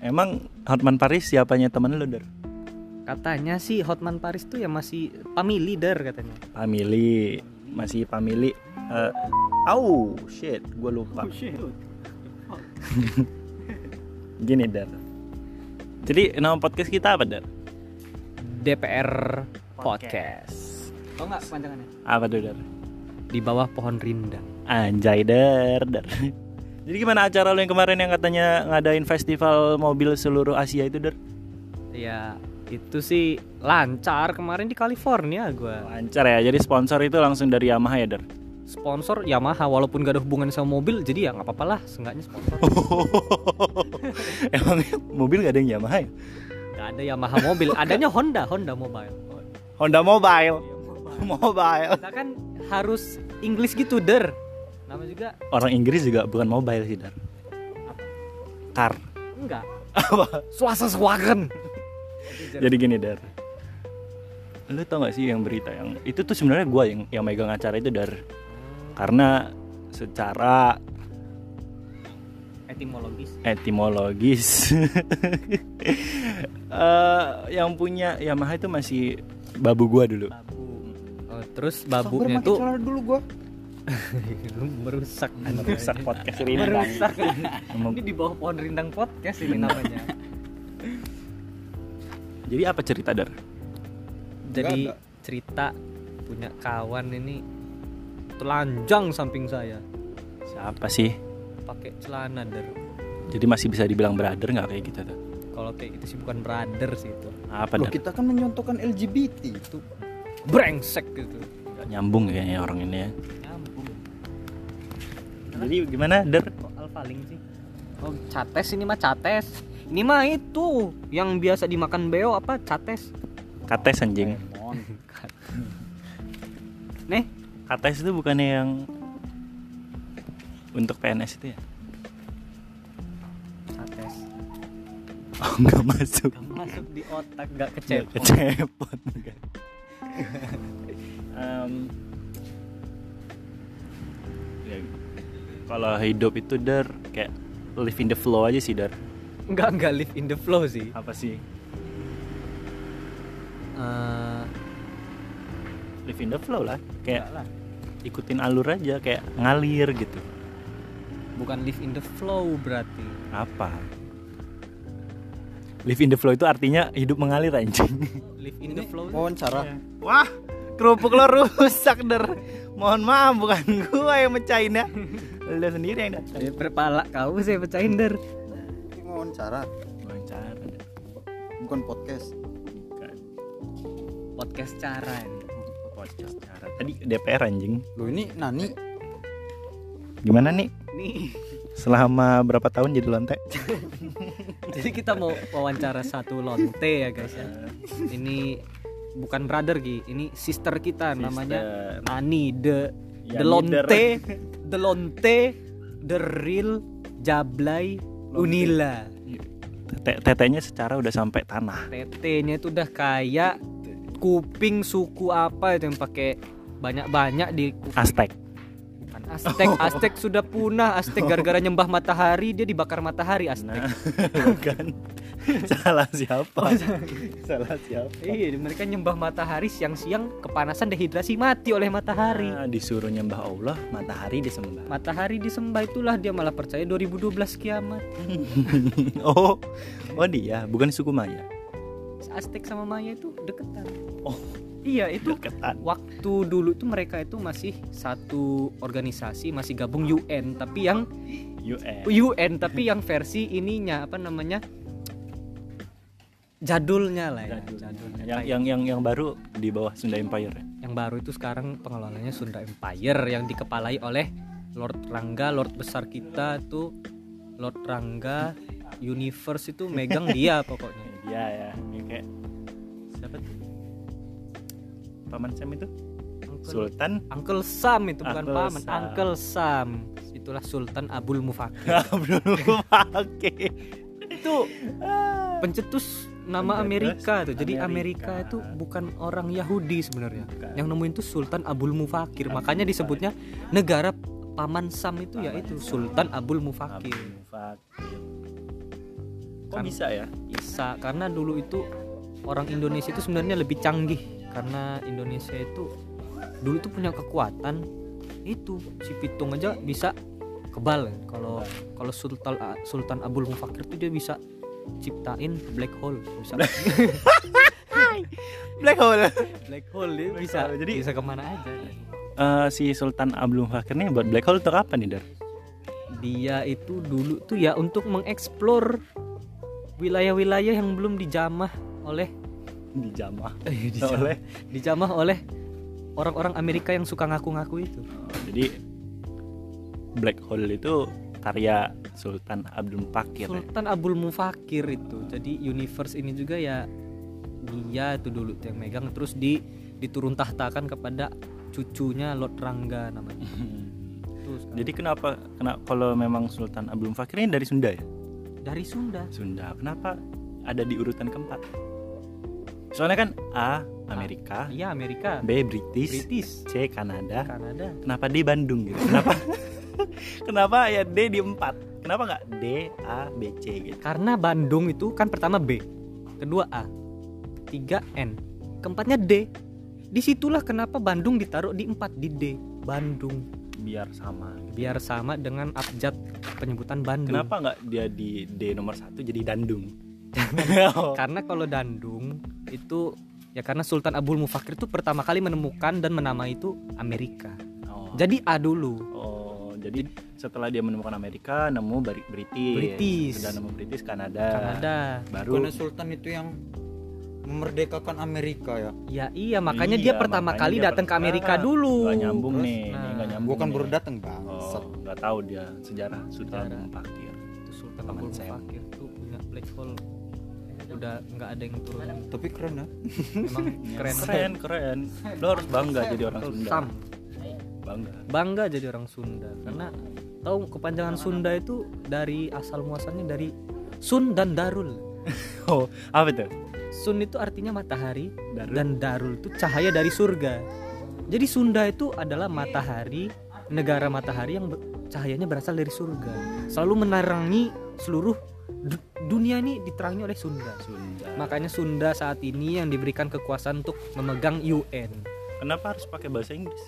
Emang Hotman Paris siapanya temen lu, Der? Katanya sih Hotman Paris tuh ya masih family leader katanya. Pamili. Masih Pamili. Eh, au, shit, gue lupa. Gini, Der. Jadi nama podcast kita apa, Der? DPR Podcast. Tau nggak kepanjangannya? Apa tuh, Der? Di bawah pohon rindang. Anjay, Der, Der. Jadi gimana acara lu yang kemarin yang katanya ngadain festival mobil seluruh Asia itu, Der? Ya itu sih lancar kemarin di California gua. Lancar ya, jadi sponsor itu langsung dari Yamaha ya, Der? Sponsor Yamaha walaupun gak ada hubungan sama mobil jadi ya nggak apa-apa lah seenggaknya sponsor. Emang mobil gak ada yang Yamaha ya? Gak ada Yamaha mobil, adanya Honda, Honda Mobile. Honda Mobile. Mobile. Kita kan harus English gitu der. Nama juga Orang Inggris juga bukan mobile sih, Dar. Car. enggak. Apa? Swasa swagen. Jadi gini, Dar. Lu tau gak sih yang berita yang itu tuh sebenarnya gua yang yang megang acara itu, Dar. Karena secara etimologis. etimologis eh, yang punya Yamaha itu masih babu gua dulu. Babu. Oh, terus babunya tuh dulu gua. Iya, merusak. Merusak podcast ini. Merusak. Emang- ini di bawah pohon rindang podcast ini namanya. Jadi apa cerita, Dar? Jadi Nggak cerita punya kawan ini telanjang samping saya Siapa sih? pakai celana der. Jadi masih bisa dibilang brother nggak kayak gitu tuh? Kalau kayak gitu sih bukan brother sih itu. Apa, Loh, Dar? kita kan menyontohkan LGBT itu. Brengsek gitu. Nggak Nyambung kayaknya orang ini ya. Nyambung. Jadi gimana, Der? Kok alpaling sih? Oh, cates ini mah cates. Ini mah itu yang biasa dimakan beo apa cates. Kates anjing. Nih, KTS itu bukannya yang untuk PNS itu ya? cates. Oh nggak masuk. Gak masuk di otak, gak Nggak kecepot. Kecepot. nggak. Em, ya, kalau hidup itu der kayak live in the flow aja sih der. Enggak, enggak live in the flow sih. Apa sih? Eh, Live in the flow lah. enggak Kayak lah. ikutin alur aja kayak ngalir gitu. Bukan live in the flow berarti. Apa? Live in the flow itu artinya hidup mengalir anjing. Live in the flow. Iya. Wawancara. Iya. Wah, kerupuk lo rusak, Der. Mohon maaf, bukan gua yang mecahin ya. Lo sendiri yang datang. Dari berpala Eh, kau saya pecahin der. Ini wawancara, Wawancara. Der. bukan podcast. Bukan Podcast cara ini. podcast cara. Tadi DPR anjing. Loh ini Nani. Gimana nih? Nih, Selama berapa tahun jadi lonte? jadi kita mau wawancara satu lonte ya guys ya. Ini bukan brother Gi, ini sister kita namanya Nani the Ya, the lonte the lonte the real Jablay Unila. Tete- Tetenya secara udah sampai tanah. Tetenya itu udah kayak kuping suku apa itu yang pakai banyak-banyak di kuping. Aztec. Bukan Aztec, Aztec sudah punah. Aztec gara-gara nyembah matahari dia dibakar matahari Aztec. Nah, bukan. Salah siapa? Salah siapa? Iya, mereka nyembah matahari siang-siang kepanasan dehidrasi mati oleh matahari. Nah, disuruh nyembah Allah, matahari disembah. Matahari disembah itulah dia malah percaya 2012 kiamat. oh, oh dia, bukan suku Maya. Aztec sama Maya itu deketan. Oh. Iya, itu Deketan. waktu dulu tuh mereka itu masih satu organisasi, masih gabung UN, tapi yang UN. UN tapi yang versi ininya apa namanya? jadulnya lah ya, jadulnya. yang, Kayak- yang yang yang baru di bawah Sunda Empire ya? yang baru itu sekarang pengelolanya Sunda Empire yang dikepalai oleh Lord Rangga, Lord besar kita tuh Lord Rangga Universe itu megang dia pokoknya. Iya ya, yang kayak siapa tuh? Paman Sam itu? Uncle, Sultan Uncle Sam itu bukan Uncle paman, Sam. Uncle Sam. Itulah Sultan Abdul Mufakir. Abdul Mubake. Itu pencetus Ah. Pencetus nama Amerika tuh. Jadi Amerika. Amerika itu bukan orang Yahudi sebenarnya. Bukan. Yang nemuin tuh Sultan Abdul Mufakir. Abdul Makanya Mufakir. disebutnya negara paman Sam itu Paman yaitu Sam. Sultan Abdul Abdul Mufakir. Mubake. Kok Kan- bisa ya? bisa karena dulu itu orang Indonesia itu sebenarnya lebih canggih karena Indonesia itu dulu tuh punya kekuatan itu si Pitung aja bisa kebal kalau kalau Sultan ah, Sultan Abdul Mufakir tuh dia bisa ciptain black hole bisa Black hole. black hole dia Black bisa hole, jadi jadi- bisa kemana aja Eh, si Sultan Abdul Fakir nih buat black hole untuk apa nih, Dar? dia itu dulu tuh ya untuk mengeksplor wilayah-wilayah yang belum dijamah oleh Dijamah. eh, Oleh. dijamah oleh orang-orang Amerika yang suka ngaku-ngaku itu. Jadi black hole itu karya Sultan Abdul Fakir. ya? Sultan Abdul Mufakir itu. Jadi universe ini juga ya dia itu dulu tuh yang megang terus di diturun tahtakan kepada cucunya Lord Rangga namanya. kan Itu sekarang. Jadi kenapa kena kalau memang Sultan Abdul Fakir ini dari Sunda ya? dari Sunda. Sunda. Kenapa ada di urutan keempat? Soalnya kan A Amerika, Iya Amerika, B British, British, C Kanada. Kanada. Kenapa D Bandung gitu? Kenapa? kenapa ya D di empat? Kenapa nggak D A B C gitu? Karena Bandung itu kan pertama B, kedua A, tiga N, keempatnya D. Disitulah kenapa Bandung ditaruh di empat di D. Bandung Biar sama. biar sama dengan abjad penyebutan Bandung. Kenapa nggak dia di D nomor satu jadi Dandung? Oh. Kan- Karena kalau Dandung itu ya karena Sultan Abdul Mufakir itu pertama kali menemukan dan menamai itu Amerika. Oh. Jadi A dulu. Oh, jadi setelah dia menemukan Amerika, nemu Bari- British. British. Sudah nemu British Kanada. Kanada. Baru Bukannya Sultan itu yang memerdekakan Amerika ya Ya iya makanya dia Iya, pertama makanya kali dia datang ke pertama. Amerika dulu. nggak nyambung Terus, nih, nah, ini nggak nyambung. gua kan nih. baru datang bang Oh, Set. nggak tahu dia sejarah sudah Sejarah. mempakir. Itu Sultan Abdul Teman saya. Mufakir tuh punya black hole udah nggak ada yang turun tapi keren ya memang keren Iya. keren, keren. Lo harus bangga jadi orang Betul, Sunda. Sam. Bangga. bangga jadi orang Sunda karena tahu kepanjangan Sunda itu dari asal muasalnya dari Sun dan Darul Oh, apa itu? Sun itu artinya matahari Darul. dan Darul itu cahaya dari surga. Jadi Sunda itu adalah matahari, negara matahari yang ber- cahayanya berasal dari surga. Selalu menerangi seluruh du- dunia ini diterangi oleh Sunda. Sunda. Makanya Sunda saat ini yang diberikan kekuasaan untuk memegang UN. Kenapa harus pakai bahasa Inggris?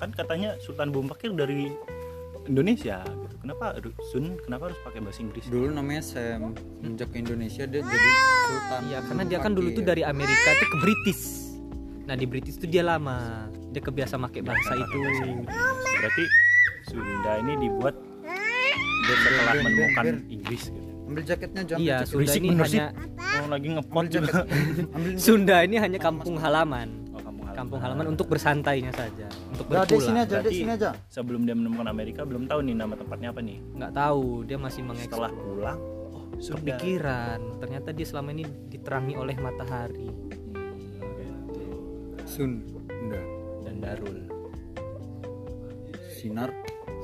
Kan katanya Sultan Bumpakir dari Indonesia gitu. Kenapa harus- Sun? Kenapa harus pakai bahasa Inggris? dulu namanya Sam menjak ke Indonesia dia jadi Sultan Iya, karena dia kan dulu tuh Fakir. dari Amerika itu ke British. Nah, di British tuh dia lama. Dia kebiasa pakai bahasa itu. Iya, Bahasa Inggris. Berarti Sunda ini dibuat setelah ben, ben, menemukan ben. Inggris gitu. ambil jaketnya jangan Iya, ambil jaket. Sunda Berisik ini bener sih. hanya Mau lagi ngepot ambil juga. jaket ambil Sunda ini hanya kampung halaman. Oh, kampung halaman. Kampung halaman untuk bersantainya saja, untuk Nah, Udah, dek, sini berpulang. aja dek, Berarti- sini aja sebelum dia menemukan Amerika belum tahu nih nama tempatnya apa nih. Nggak tahu, dia masih mengeksplor Setelah pulang, oh Sunda. pikiran. Ternyata dia selama ini diterangi oleh matahari Sunda Dan Darul. sinar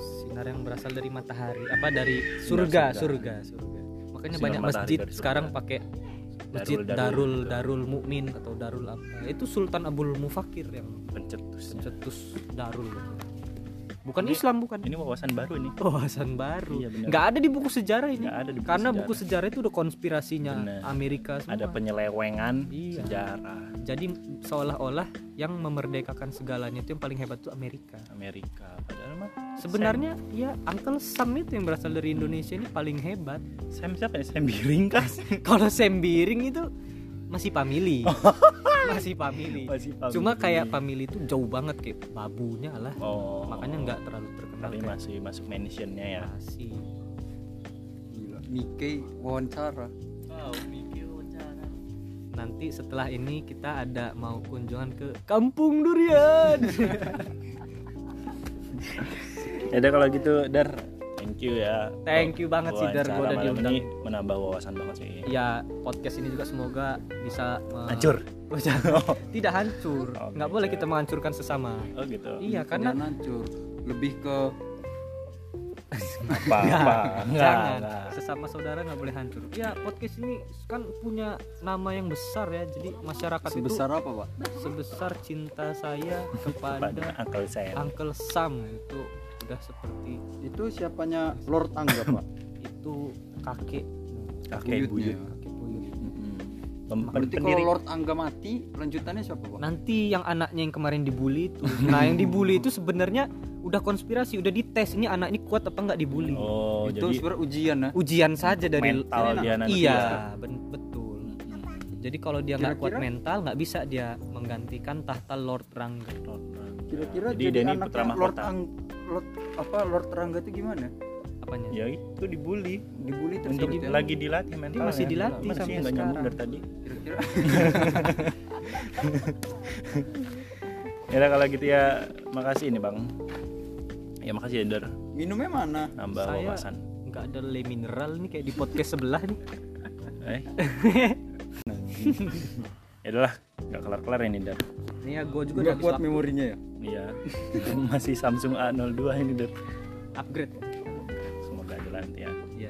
sinar yang berasal dari matahari, apa dari surga, surga, surga. surga. Makanya Sinar banyak matahari masjid dari surga. sekarang pakai masjid Darul, Darul Darul Darul, gitu. Mukmin atau Darul apa? Itu Sultan Abdul Mufakir yang Pencetusnya. pencetus Darul. Bukan Islam, bukan. Ini wawasan baru nih. Wawasan baru. Iya, benar. Nggak ada di buku sejarah ini. Nggak ada di buku Karena sejarah. buku sejarah itu udah konspirasinya Benar. Amerika semua. Ada penyelewengan Iya. sejarah Jadi seolah-olah yang memerdekakan segalanya itu yang paling hebat itu Amerika. Amerika. Padahal mah Sebenarnya ya Uncle Sam itu yang berasal dari Indonesia ini paling hebat. Sam siapa ya? Sam Biring kah? Kalau Sam Biring itu masih family. masih family. Masih family. Cuma kayak family itu jauh banget kayak babunya lah. Oh. Makanya nggak terlalu terkenal Tapi kayak masih masuk mentionnya ya. masih. gila Nikkei wawancara Nanti setelah ini kita ada mau kunjungan ke Kampung Durian. Ya udah kalau gitu Dar, thank you ya. Thank you banget sih, Dar, gua Wawancara udah malam diundang. ini menambah wawasan banget sih. ya podcast ini juga semoga bisa me- Hancur. Oh, gitu. Oh, jangan. tidak hancur. Oke, Nggak boleh Cak. kita menghancurkan sesama. Oh gitu. Iya karena Jangan hancur lebih ke Apa? apa? Enggak, jangan enggak. sesama saudara nggak boleh hancur. Ya podcast ini kan punya nama yang besar ya. Jadi masyarakat sebesar apa pak itu sebesar cinta saya Pada kepada Uncle Sam. Uncle Sam itu udah seperti itu siapanya Lord Angga pak itu kakek kakek Buyutnya. buyut kakek buyut. Mm-mm. Pem- pen- Berarti kalau Lord Angga mati, lanjutannya siapa, Nah, Bang? nanti yang anaknya yang kemarin dibully itu nah yang dibully itu sebenarnya udah konspirasi udah dites ini anak ini kuat apa nggak dibully oh jadi itu sebenarnya ujian ya. ujian saja dari mental dia nanti iya ya. ben- betul jadi kalau dia nggak kuat Kira-kira- mental nggak bisa dia menggantikan tahta Lord Rangga Kira-kira Jadi jadi, dia ini anaknya putra Lord mahkota. Ang Lord apa Lord Rangga itu gimana? apanya ya itu dibully Dibully terus gitu ya? untuk seperti apa? lagi dilatih ya. mentalnya gitu. masih dilatih Masih nggak sampai nyambung sekarang. dari tadi kira-kira ya udah, kalau gitu ya makasih nih bang ya makasih ya Dar minumnya mana? nambah Saya- wawasan nggak ada le mineral nih kayak di podcast sebelah nih eh ya udahlah nggak kelar kelar ini Dar ini ya gue juga Juga udah kuat habis memorinya ya. iya masih Samsung A02 ini Dar lap- upgrade semoga aja nanti ya ya